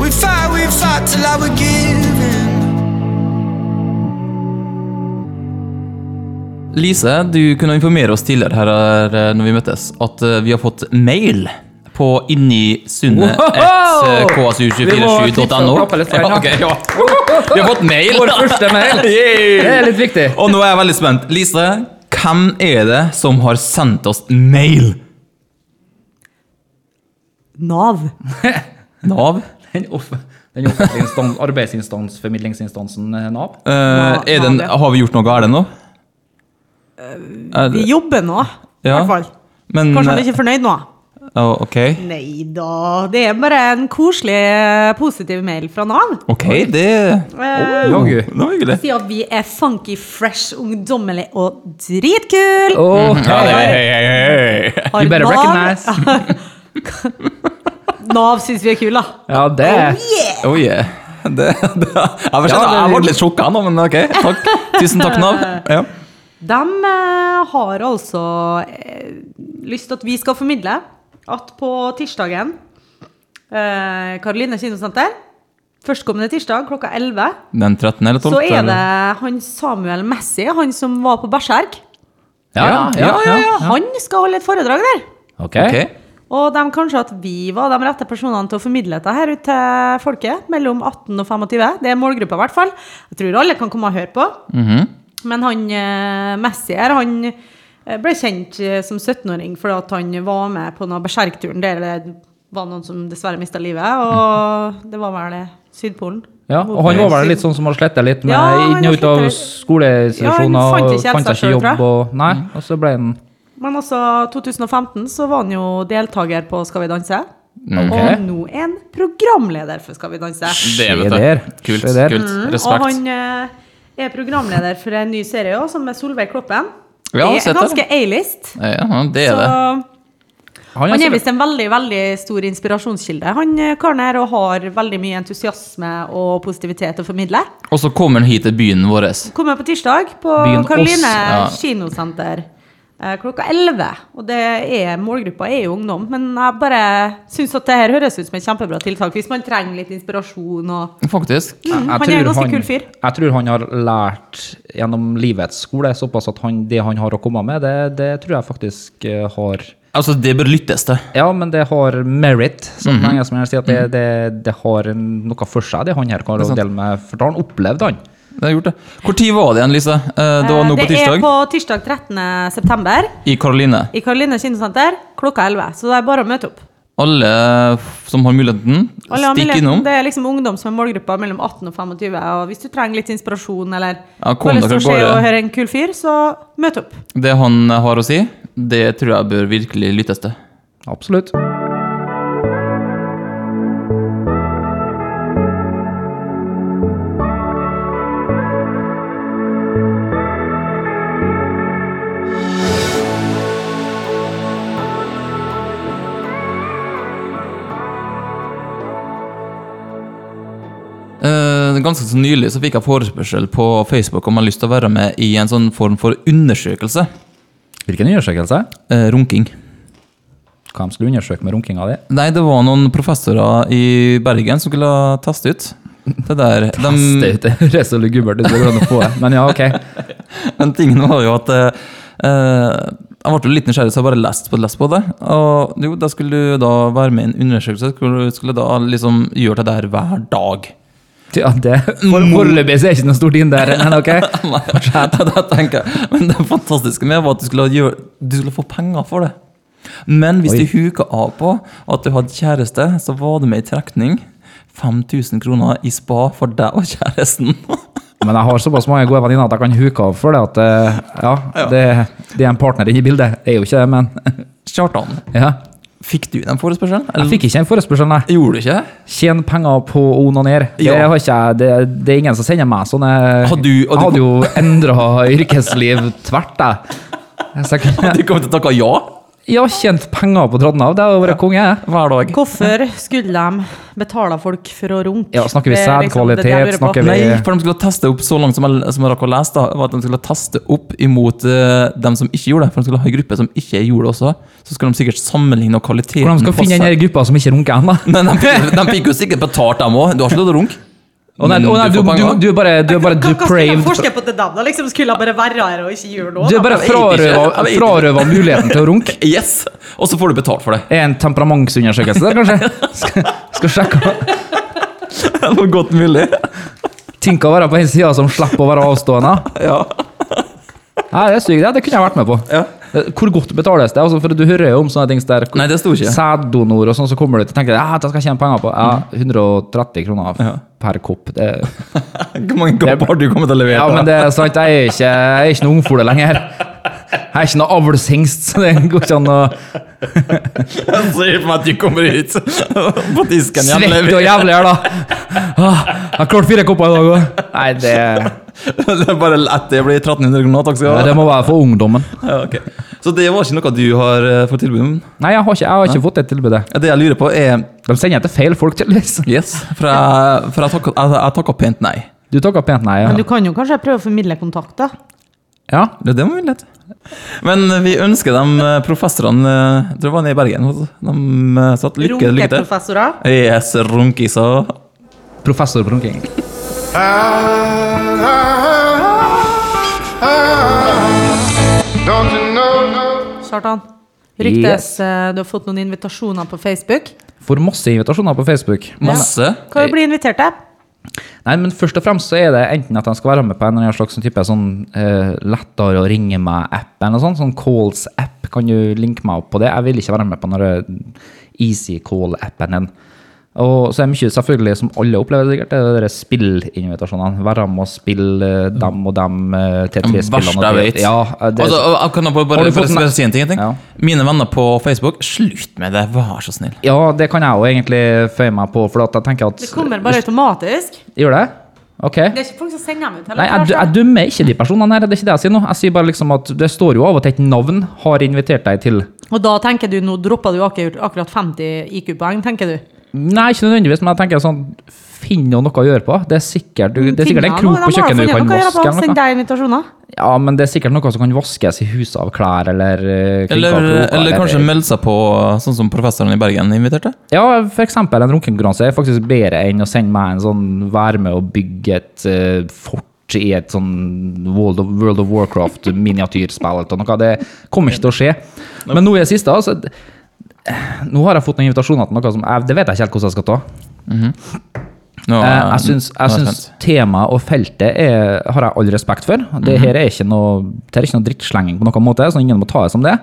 Speaker 7: we fight, we fight till I would give in.
Speaker 2: Lise, du kunne informere oss tidligere her eh, når vi møttes, at eh, vi har fått mail på inni sundet eh,
Speaker 4: Wow! Vi må knipse
Speaker 2: ksu247.no.
Speaker 4: og klappe litt for den,
Speaker 2: Ja,
Speaker 4: ja.
Speaker 2: ok, ja. Vi har fått mail!
Speaker 4: Vår første mail.
Speaker 2: Yay!
Speaker 4: Det er litt viktig.
Speaker 2: Og nå er jeg veldig spent. Lise, hvem er det som har sendt oss mail?
Speaker 3: Nav.
Speaker 2: Nav?
Speaker 4: Den off- den offentlige instans, arbeidsinstans, formidlingsinstansen eh, Nav.
Speaker 2: Eh, er det en,
Speaker 3: Nav, ja. Eh,
Speaker 2: har vi gjort noe galt nå?
Speaker 3: Vi jobber nå, i
Speaker 2: Ja.
Speaker 3: hvert fall.
Speaker 2: Men
Speaker 3: Kanskje han
Speaker 2: eh,
Speaker 3: er ikke fornøyd nå.
Speaker 2: Å, eh, ok.
Speaker 3: Nei da, det er bare en koselig, eh, positiv mail fra Nav.
Speaker 2: Ok, det
Speaker 3: Eh,
Speaker 2: Å,
Speaker 4: gud.
Speaker 2: Det var hyggelig.
Speaker 3: Si at vi er funky, fresh, ungdommelig og dritkul!
Speaker 2: Mm,
Speaker 4: Oh,
Speaker 2: Hei, hei, hei.
Speaker 3: Har
Speaker 4: You better
Speaker 3: Nav-
Speaker 4: recognize.
Speaker 3: Nav syns vi er kule, da.
Speaker 4: Ja, det
Speaker 2: Oh yeah. Det, det, jeg, var skjønt, jeg ble litt sjokka nå, men ok. Takk. Tusen takk, Nav. Ja.
Speaker 3: De eh, har altså eh, lyst til at vi skal formidle at på tirsdagen eh, Karoline kinosenter, førstkommende tirsdag klokka 11,
Speaker 2: Den 13. eller 12.
Speaker 3: så er det
Speaker 2: eller?
Speaker 3: han Samuel Messi, han som var på Berserk,
Speaker 4: Ja, ja, ja. ja.
Speaker 3: han skal holde et foredrag der.
Speaker 4: Ok.
Speaker 2: Ok.
Speaker 3: Og de, kanskje at vi var de rette personene til å formidle dette her ut til folket mellom 18 og 25. Det er målgruppa, i hvert fall. Jeg tror alle kan komme og høre på.
Speaker 4: Mhm.
Speaker 3: Men han eh, Messi her, han eh, ble kjent eh, som 17-åring fordi at han var med på noen berserkturen der det var noen som dessverre mista livet, og det var vel eh, Sydpolen.
Speaker 4: Ja, og han var vel litt sånn som har sletta litt med
Speaker 3: Ja, han
Speaker 4: inn og ut av
Speaker 3: slettet-
Speaker 4: skoleinstitusjoner
Speaker 3: Ja, han fant
Speaker 4: og
Speaker 3: ikke helt
Speaker 4: fant
Speaker 3: seg
Speaker 4: seg ikke
Speaker 3: selv,
Speaker 4: jobb
Speaker 3: tror Mm.
Speaker 4: og Nei, og så ble han
Speaker 3: Men altså, 2015 så var han jo deltaker på Skal vi danse.
Speaker 4: Mm, Ok.
Speaker 3: Og nå er han programleder for Skal vi danse.
Speaker 2: Det,
Speaker 4: Se
Speaker 2: vet du.
Speaker 4: der.
Speaker 2: Kult.
Speaker 4: Se der.
Speaker 2: kult.
Speaker 3: Mm, Og
Speaker 2: Respekt.
Speaker 3: han eh, er programleder for en ny serie også, som er Solveig Kloppen.
Speaker 2: Ja,
Speaker 3: det
Speaker 2: sett
Speaker 3: er
Speaker 2: det.
Speaker 3: ganske A-list.
Speaker 2: Ja, det
Speaker 3: Så
Speaker 2: er det.
Speaker 4: Han
Speaker 3: han er
Speaker 4: er
Speaker 3: visst en veldig veldig stor inspirasjonskilde. Han eh, karen her og har veldig mye entusiasme og positivitet å formidle.
Speaker 2: Og så kommer han hit til byen vår.
Speaker 3: Kommer på tirsdag på
Speaker 4: Byen Ås,
Speaker 3: Karoline
Speaker 2: ja.
Speaker 3: kinosenter eh, klokka 11. Og det er, målgruppa er jo ungdom, men jeg bare syns at det her høres ut som et kjempebra tiltak hvis man trenger litt inspirasjon og
Speaker 2: Faktisk.
Speaker 3: Mm,
Speaker 4: Jeg
Speaker 3: han er en
Speaker 4: tror
Speaker 3: ganske kul fyr.
Speaker 4: Jeg tror han har lært gjennom livets skole såpass at han, det han har å komme med, det, det tror jeg faktisk eh, har
Speaker 2: Altså, det bør lyttes til.
Speaker 4: Ja, men det har merit, som engelskmennene sier. At det, det, det har en, noe for seg, Mhm. det han her kan dele med. For da har han opplevd han.
Speaker 2: Det har gjort det. Hvor tid var det igjen, Lise? Eh, Det var nå
Speaker 3: Eh,
Speaker 2: på tirsdag.
Speaker 3: er på tirsdag 13. september
Speaker 2: I Karoline.
Speaker 3: i Karoline kinosenter klokka 11. Så det er bare å møte opp.
Speaker 2: Alle f- som har muligheten,
Speaker 3: Alle har
Speaker 2: stikk
Speaker 3: muligheten.
Speaker 2: innom.
Speaker 3: Det er liksom ungdom som er målgruppa mellom 18 og 25. Og hvis du trenger litt inspirasjon eller
Speaker 2: Ja, kom
Speaker 3: bare
Speaker 2: dere
Speaker 3: lyst til å se
Speaker 2: bare.
Speaker 3: og høre en kul fyr, så møt opp.
Speaker 2: Det han har å si, det tror jeg bør virkelig lyttes til.
Speaker 4: Absolutt.
Speaker 2: Eh, ganske så nylig så fikk jeg forespørsel på Facebook om jeg har lyst til å være med i en sånn form for undersøkelse.
Speaker 4: Hvilken undersøkelse?
Speaker 2: Eh, runking.
Speaker 4: Hva de skulle undersøke med runkinga di?
Speaker 2: Nei, det var noen professorer i Bergen som skulle teste ut det der.
Speaker 4: Det
Speaker 2: De,
Speaker 4: er ikke- det er så lugubert ut, det går an å få det. Men ja, ok.
Speaker 2: men tingen var jo at eh, eh, Jeg ble jo litt nysgjerrig, så jeg bare leste på, lest på det. Og jo, da skulle du da være med i en undersøkelse. Skulle, skulle da liksom gjøre det der hver dag.
Speaker 4: Ja, det for-
Speaker 2: Mm.
Speaker 4: Foreløpig så er det ikke noe stort inn der, men ok.
Speaker 2: Nei, det, det tenker jeg. Men det fantastiske med var at du skulle, gjøre, du skulle få penger for det. Men hvis
Speaker 4: Oi.
Speaker 2: du huka av på at du hadde kjæreste, så var det med i trekning 5000 kroner i spa for deg og kjæresten.
Speaker 4: Men jeg har såpass mange gode venninner at jeg kan huke av for det. At eh, ja, det, det er en partner inne i bildet. Det er jo ikke det, men
Speaker 2: Kjartan,
Speaker 4: ja.
Speaker 2: fikk du den forespørselen?
Speaker 4: Jeg fikk ikke en forespørsel, nei.
Speaker 2: Gjorde du ikke?
Speaker 4: Tjene penger på å onanere. Det,
Speaker 2: Ja.
Speaker 4: har ikke jeg- det, det er ingen som sender meg sånne
Speaker 2: Har du-
Speaker 4: Jeg
Speaker 2: har du-
Speaker 4: hadde jo endra yrkesliv tvert, jeg. Så jeg kunne-
Speaker 2: Du kom til å takke ja
Speaker 4: Jeg har tjent penger på Trodden av. Det har vært konge. jeg.
Speaker 2: hver dag.
Speaker 3: Hvorfor skulle de betale folk for å runke?
Speaker 4: Ja, snakker vi
Speaker 3: Det er liksom det
Speaker 4: sædkvalitet,
Speaker 3: jeg lurer på.
Speaker 4: snakker vi-
Speaker 2: Nei, for de skulle teste opp så langt som jeg, som jeg rakk å lese, da, var at de skulle teste opp imot eh, dem som ikke gjorde det. For de skulle ha en gruppe som ikke gjorde det også. Så skulle de sikkert sammenligne kvaliteten
Speaker 4: Hvordan skal
Speaker 2: på
Speaker 4: jeg finne den
Speaker 2: sæd-
Speaker 4: der gruppa som ikke runker ennå?
Speaker 2: Men de fikk, de fikk jo sikkert betalt, dem òg. Du har ikke lov til å runke.
Speaker 4: Å nei,
Speaker 2: Men
Speaker 4: å nei, du,
Speaker 2: du får
Speaker 4: du,
Speaker 2: penger.
Speaker 4: du er bare, du er bare
Speaker 3: Hva, hva skulle de
Speaker 4: depraved.
Speaker 3: forske på til dem, da? Liksom skulle de bare være her og ikke gjøre noe?
Speaker 4: Du er
Speaker 3: da?
Speaker 4: bare
Speaker 2: Jeg vet ikke, jeg vet ikke.
Speaker 4: frarøva muligheten til å runke.
Speaker 2: Yes! Og så får du betalt for det.
Speaker 4: Er en temperamentsundersøkelse der, kanskje? Skal, skal sjekke
Speaker 2: Det var godt mulig.
Speaker 4: Tenk å være på en sida som slipper å være avstående.
Speaker 2: Ja.
Speaker 4: Nei, det er sykt, det. Det kunne jeg vært med på. Eh, Hvor godt betales det? Altså, for Du hører jo om sånne ting der
Speaker 2: Nei, det sto ikke.
Speaker 4: sæddonor og sånn, så kommer du til å tenke at jeg skal tjene penger på Ja,
Speaker 2: Mm.
Speaker 4: 130 kroner per kopp. Det,
Speaker 2: Hvor mange kopper har du kommet til å levere?
Speaker 4: ja, men det er sant, jeg er ikke, jeg er ikke noe ungfole lenger. Jeg er ikke noe avlshengst, så det går ikke an å
Speaker 2: Jeg ser for meg at du kommer ut på disken
Speaker 4: svette og jævlig her, da. Ah, Jeg har klart fire kopper i dag òg. Nei, det,
Speaker 2: Det er bare lett det blir 1300 kroner. Takk skal du
Speaker 4: det
Speaker 2: ha.
Speaker 4: må være for ungdommen.
Speaker 2: Ja, ok. Så det var ikke noe du har eh, fått tilbud om?
Speaker 4: Nei, jeg har ikke, jeg har ikke fått det tilbudet.
Speaker 2: Det jeg lurer på, er
Speaker 4: De sender jeg til feil folk, tydeligvis.
Speaker 2: Yes, for jeg, for jeg, takka, jeg, jeg takka pent nei.
Speaker 4: Du takker pent nei.
Speaker 3: Men du
Speaker 4: Ja.
Speaker 3: kan jo kanskje prøve å formidle kontakt, da.
Speaker 4: ja.
Speaker 2: Det, det må vi lette. Men vi ønsker de eh, professorene eh, Jeg tror det var nede i Bergen. De eh, satt lykke, lykke til.
Speaker 3: Runkeprofessorer.
Speaker 2: Yes, runkiser.
Speaker 4: Professor på runking.
Speaker 8: Don't you know?
Speaker 3: Kjartan. Ryktes
Speaker 4: Yes.
Speaker 3: eh, du har fått noen invitasjoner på Facebook.
Speaker 4: Får masse invitasjoner på Facebook.
Speaker 2: Masse.
Speaker 3: Kan jo bli invitert til.
Speaker 4: Nei, men først og fremst så er det enten at de skal være med på en eller annen slags sånn type sånn eh, lettere å ringe meg-app, eller noe sånt, sånn calls-app. Kan du linke meg opp på det? Jeg vil ikke være med på den der eh, easy call-appen din. Og så er det mye selvfølgelig som alle opplever sikkert, det er de der spillinvitasjonene. Være med og spille eh, dem og dem eh,
Speaker 2: Den
Speaker 4: T3-spillene.
Speaker 2: verste jeg
Speaker 4: og
Speaker 2: vet.
Speaker 4: Ja, eh, det,
Speaker 2: altså, jeg kan jeg bare,
Speaker 4: Har
Speaker 2: bare,
Speaker 4: du
Speaker 2: bare,
Speaker 4: fått den-
Speaker 2: bare si en ting. Jeg tenker.
Speaker 4: Ja.
Speaker 2: Mine venner på Facebook, slutt med det, vær så snill.
Speaker 4: ja, det kan jeg jo egentlig føye meg på, for at jeg tenker at
Speaker 3: Det kommer bare automatisk.
Speaker 4: Gjør det? Ok.
Speaker 3: Det er ikke folk som sender dem ut.
Speaker 4: Nei, jeg, dø- jeg dømmer ikke de personene her, det er ikke det jeg sier nå. Jeg sier bare liksom at det står jo av og til et navn har invitert deg til.
Speaker 3: sånn. Og da tenker du, nå dropper du akkurat, akkurat 50 IQ-poeng, tenker du.
Speaker 4: Nei, ikke nødvendigvis, men jeg tenker sånn, finn jo noe å gjøre på. Det er sikkert, du- det er sikkert en
Speaker 3: Finner
Speaker 4: krok på
Speaker 3: han, de har
Speaker 4: kjøkkenet du
Speaker 3: funnet
Speaker 4: kan
Speaker 3: noe å gjøre
Speaker 4: vaske
Speaker 3: på,
Speaker 4: eller
Speaker 3: Send
Speaker 4: noe.
Speaker 3: deg invitasjoner.
Speaker 4: Ja, men det er sikkert noe som kan vaskes i huset av klær, eller eh, klikke
Speaker 2: Eller,
Speaker 4: av kroker,
Speaker 2: eller kanskje melde seg på sånn som professoren i Bergen inviterte?
Speaker 4: Ja, for eksempel en runkekonkurranse er faktisk bedre enn å sende meg en sånn være med å bygge et eh, fort i et sånn World of, World of Warcraft miniatyrspill eller noe. Det kommer ikke til å skje. Men nå i det siste, altså d- Nå har jeg fått noen invitasjoner til noe som jeg, Det vet jeg ikke helt hvordan jeg skal ta.
Speaker 2: Nå,
Speaker 4: Eh, Jeg syns,
Speaker 2: nå er
Speaker 4: jeg syns
Speaker 2: spent. Mhm.
Speaker 4: temaet og feltet er, har jeg all respekt for. Det her er ikke noe, det her er ikke noe drittslenging på noen måte, så ingen må ta det som det.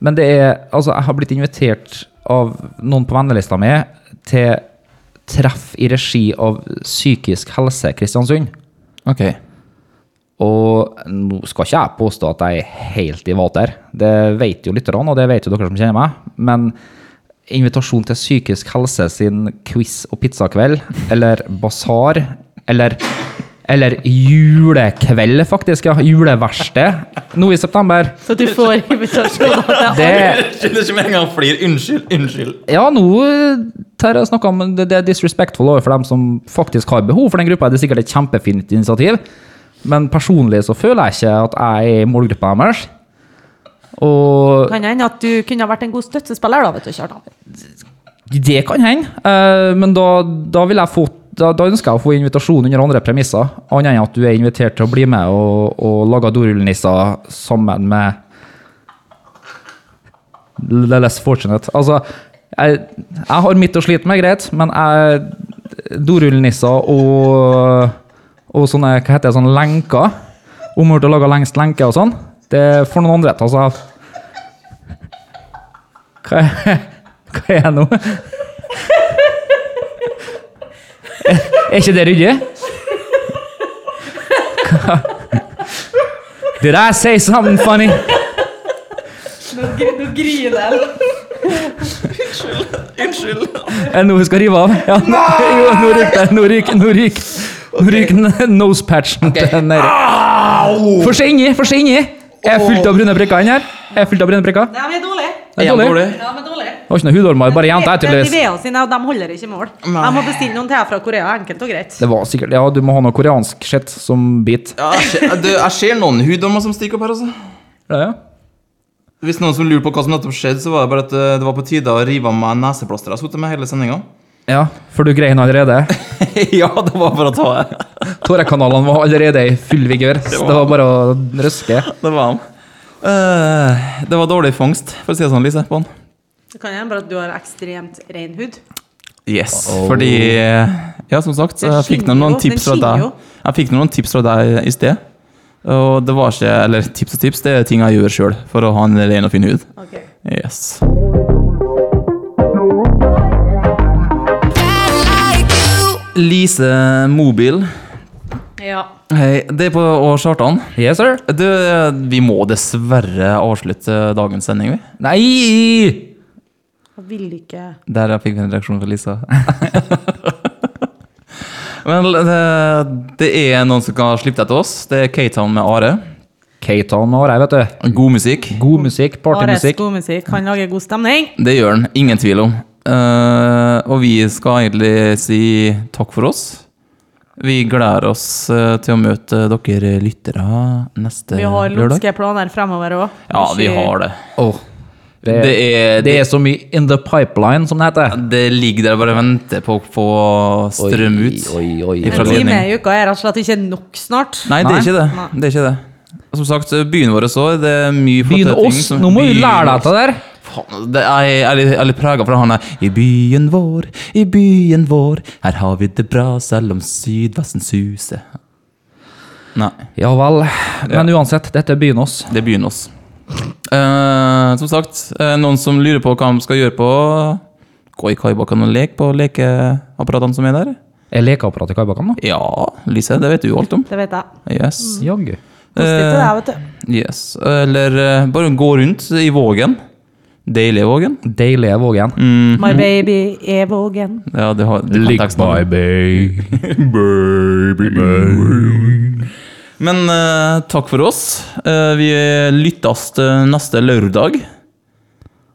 Speaker 4: Men det er, altså, jeg har blitt invitert av noen på vennelista mi til treff i regi av Psykisk helse Kristiansund.
Speaker 2: Ok.
Speaker 4: Og nå skal ikke jeg påstå at jeg er helt i vater. Det vet jo lytterne, og det vet jo dere som kjenner meg. Men invitasjon til psykisk helse sin quiz- og pizzakveld, eller basar, eller, eller julekveld, faktisk. ja, Juleverksted nå i september.
Speaker 3: Så du får invitasjoner. til
Speaker 4: Det,
Speaker 2: Jeg skjønner ikke med en gang jeg flir. Unnskyld, unnskyld.
Speaker 4: ja, nå tar jeg snakka om det, det er disrespectful overfor dem som faktisk har behov for den gruppa. Det er sikkert et kjempefint initiativ, men personlig så føler jeg ikke at jeg er i målgruppa deres. Og
Speaker 3: Kan hende at du kunne ha vært en god støttespiller, da, vet du, Kjartan.
Speaker 4: det kan hende, eh, men da, da vil jeg få da, da ønsker jeg å få invitasjon under andre premisser, annet enn at du er invitert til å bli med og, og lage dorullnisser sammen med the less fortunate. Altså, jeg, jeg har mitt å slite med, greit, men jeg Dorullnisser og, og sånne hva heter det, sånne lenker Omgjort til å lage lengst lenke og sånn. Det får noen andre ta seg av. Hva er, hva er jeg nå? Er, er ikke det ryddig? Hva- Did I say something funny? Er det noe vi skal rive av? Ja, nå, jo, nå ryker det. Nå ryker, nå ryker, nå ryker den nosepatchen til nedi. Få se inni! Få se inni! Er jeg fullt av brune prikker inni her? Er jeg fullt av brune prikker?
Speaker 3: De er dårlige.
Speaker 4: Er jeg dårlig?
Speaker 3: De er dårlige.
Speaker 4: Det var ikke noe hudormer, bare jenter
Speaker 3: Men de
Speaker 4: tydeligvis.
Speaker 3: vea sine, og de holder ikke mål. Jeg må bestille noen til fra Korea, enkelt og greit.
Speaker 4: Det var sikkert, ja, du må ha noe koreansk shit som bit.
Speaker 2: Ja, jeg ser- du, jeg ser noen huddommer som stikker opp her, altså.
Speaker 4: Ja, ja.
Speaker 2: Hvis noen som lurer på hva som nettopp skjedde, så var det bare at eh, det var på tide å rive av meg neseplasteret jeg har sittet med hele sendinga.
Speaker 4: Ja, for du grein allerede.
Speaker 2: ja, det var for å ta det.
Speaker 4: Tårekanalene var allerede i full vigør, så det var bare å røske.
Speaker 2: Det var han. Eh, det var dårlig fangst, for å si det sånn, Lise. på han.
Speaker 3: Det kan hende bare at du har ekstremt ren hud.
Speaker 2: Yes, fordi eh, Ja, som sagt,
Speaker 3: Den
Speaker 2: jeg fikk
Speaker 3: skinner
Speaker 2: noen, noen
Speaker 3: jo, den
Speaker 2: tips fra
Speaker 3: skinner
Speaker 2: deg.
Speaker 3: jo.
Speaker 2: Jeg fikk noen tips fra deg i sted. Og det var ikke Eller tips og tips, det er ting jeg gjør sjøl for å ha en ren og fin hud. Yes. Lise Mobil.
Speaker 3: Ja.
Speaker 2: Hei, det er på og Kjartan.
Speaker 4: Yes, sir.
Speaker 2: Du, vi må dessverre avslutte dagens sending, vi.
Speaker 4: Nei!
Speaker 3: Jeg vil ikke
Speaker 2: Der fikk vi en reaksjon fra Lisa. Men det, det er noen som kan slippe deg til oss. Det er K-Town med Are.
Speaker 4: Keitan og Årei, vet du.
Speaker 2: God musikk.
Speaker 4: God musikk,
Speaker 3: Ares
Speaker 4: partymusikk.
Speaker 3: god musikk kan lage god stemning.
Speaker 2: Det gjør den. Ingen tvil om. Eh, og vi skal egentlig si takk for oss. Vi gleder oss eh, til å møte dere lyttere neste
Speaker 3: Vi har
Speaker 2: lørdag.
Speaker 3: lumske planer fremover òg.
Speaker 2: Ja, vi har det.
Speaker 4: Åh, det,
Speaker 2: Det, er,
Speaker 4: det er så mye in the pipeline, som det heter.
Speaker 2: det ligger der og bare venter på å få strøm ut.
Speaker 4: Oi, oi,
Speaker 2: Ifra
Speaker 3: En
Speaker 4: oi.
Speaker 2: Lien.
Speaker 3: time i uka er rett og slett ikke nok snart.
Speaker 2: Nei, det er ikke det.
Speaker 3: Nei.
Speaker 2: det, er ikke det. Og Som sagt, eh, byen vår også, det er mye
Speaker 4: Begynn oss!
Speaker 2: som-
Speaker 4: Nå må du
Speaker 2: Byen
Speaker 4: lære deg
Speaker 2: vår.
Speaker 4: dette der.
Speaker 2: Faen, altså, det er, jeg er litt- jeg er litt prega fra han der I byen vår, i byen vår, her har vi det bra selv om sydvesten suser. Nei,
Speaker 4: Ja vel. Men uansett, dette er byen oss.
Speaker 2: det er byen oss. Eh, som sagt, eh, noen som lurer på hva de skal gjøre på Gå i kaibakken og lek på lekeapparatene som er der?
Speaker 4: Er lekeapparatet i kaibakken, da?
Speaker 2: Ja, Lise, det vet du jo alt om.
Speaker 3: Det vet jeg. Eh,
Speaker 2: Yes.
Speaker 4: Jaggu.
Speaker 3: Positivt til deg, vet du.
Speaker 2: Yes. Eller eh, bare gå rundt i Vågen. Deilig Vågen.
Speaker 4: Deilige Vågen.
Speaker 2: mhm.
Speaker 3: My baby er vågen.
Speaker 2: Ja, det har, du kan teksten. Men eh, takk for oss. Eh, vi lyttes eh, neste lørdag.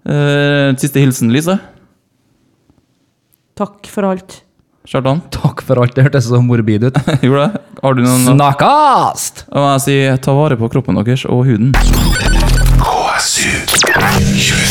Speaker 2: Eh, siste hilsen, Lise.
Speaker 3: Takk for alt.
Speaker 2: Kjartan.
Speaker 4: Takk for alt, det hørtes så morbid ut.
Speaker 2: Gjorde det? Har du noen
Speaker 4: Snakkast!
Speaker 2: Og jeg sier ta vare på kroppen deres og huden.
Speaker 1: KSU 2020.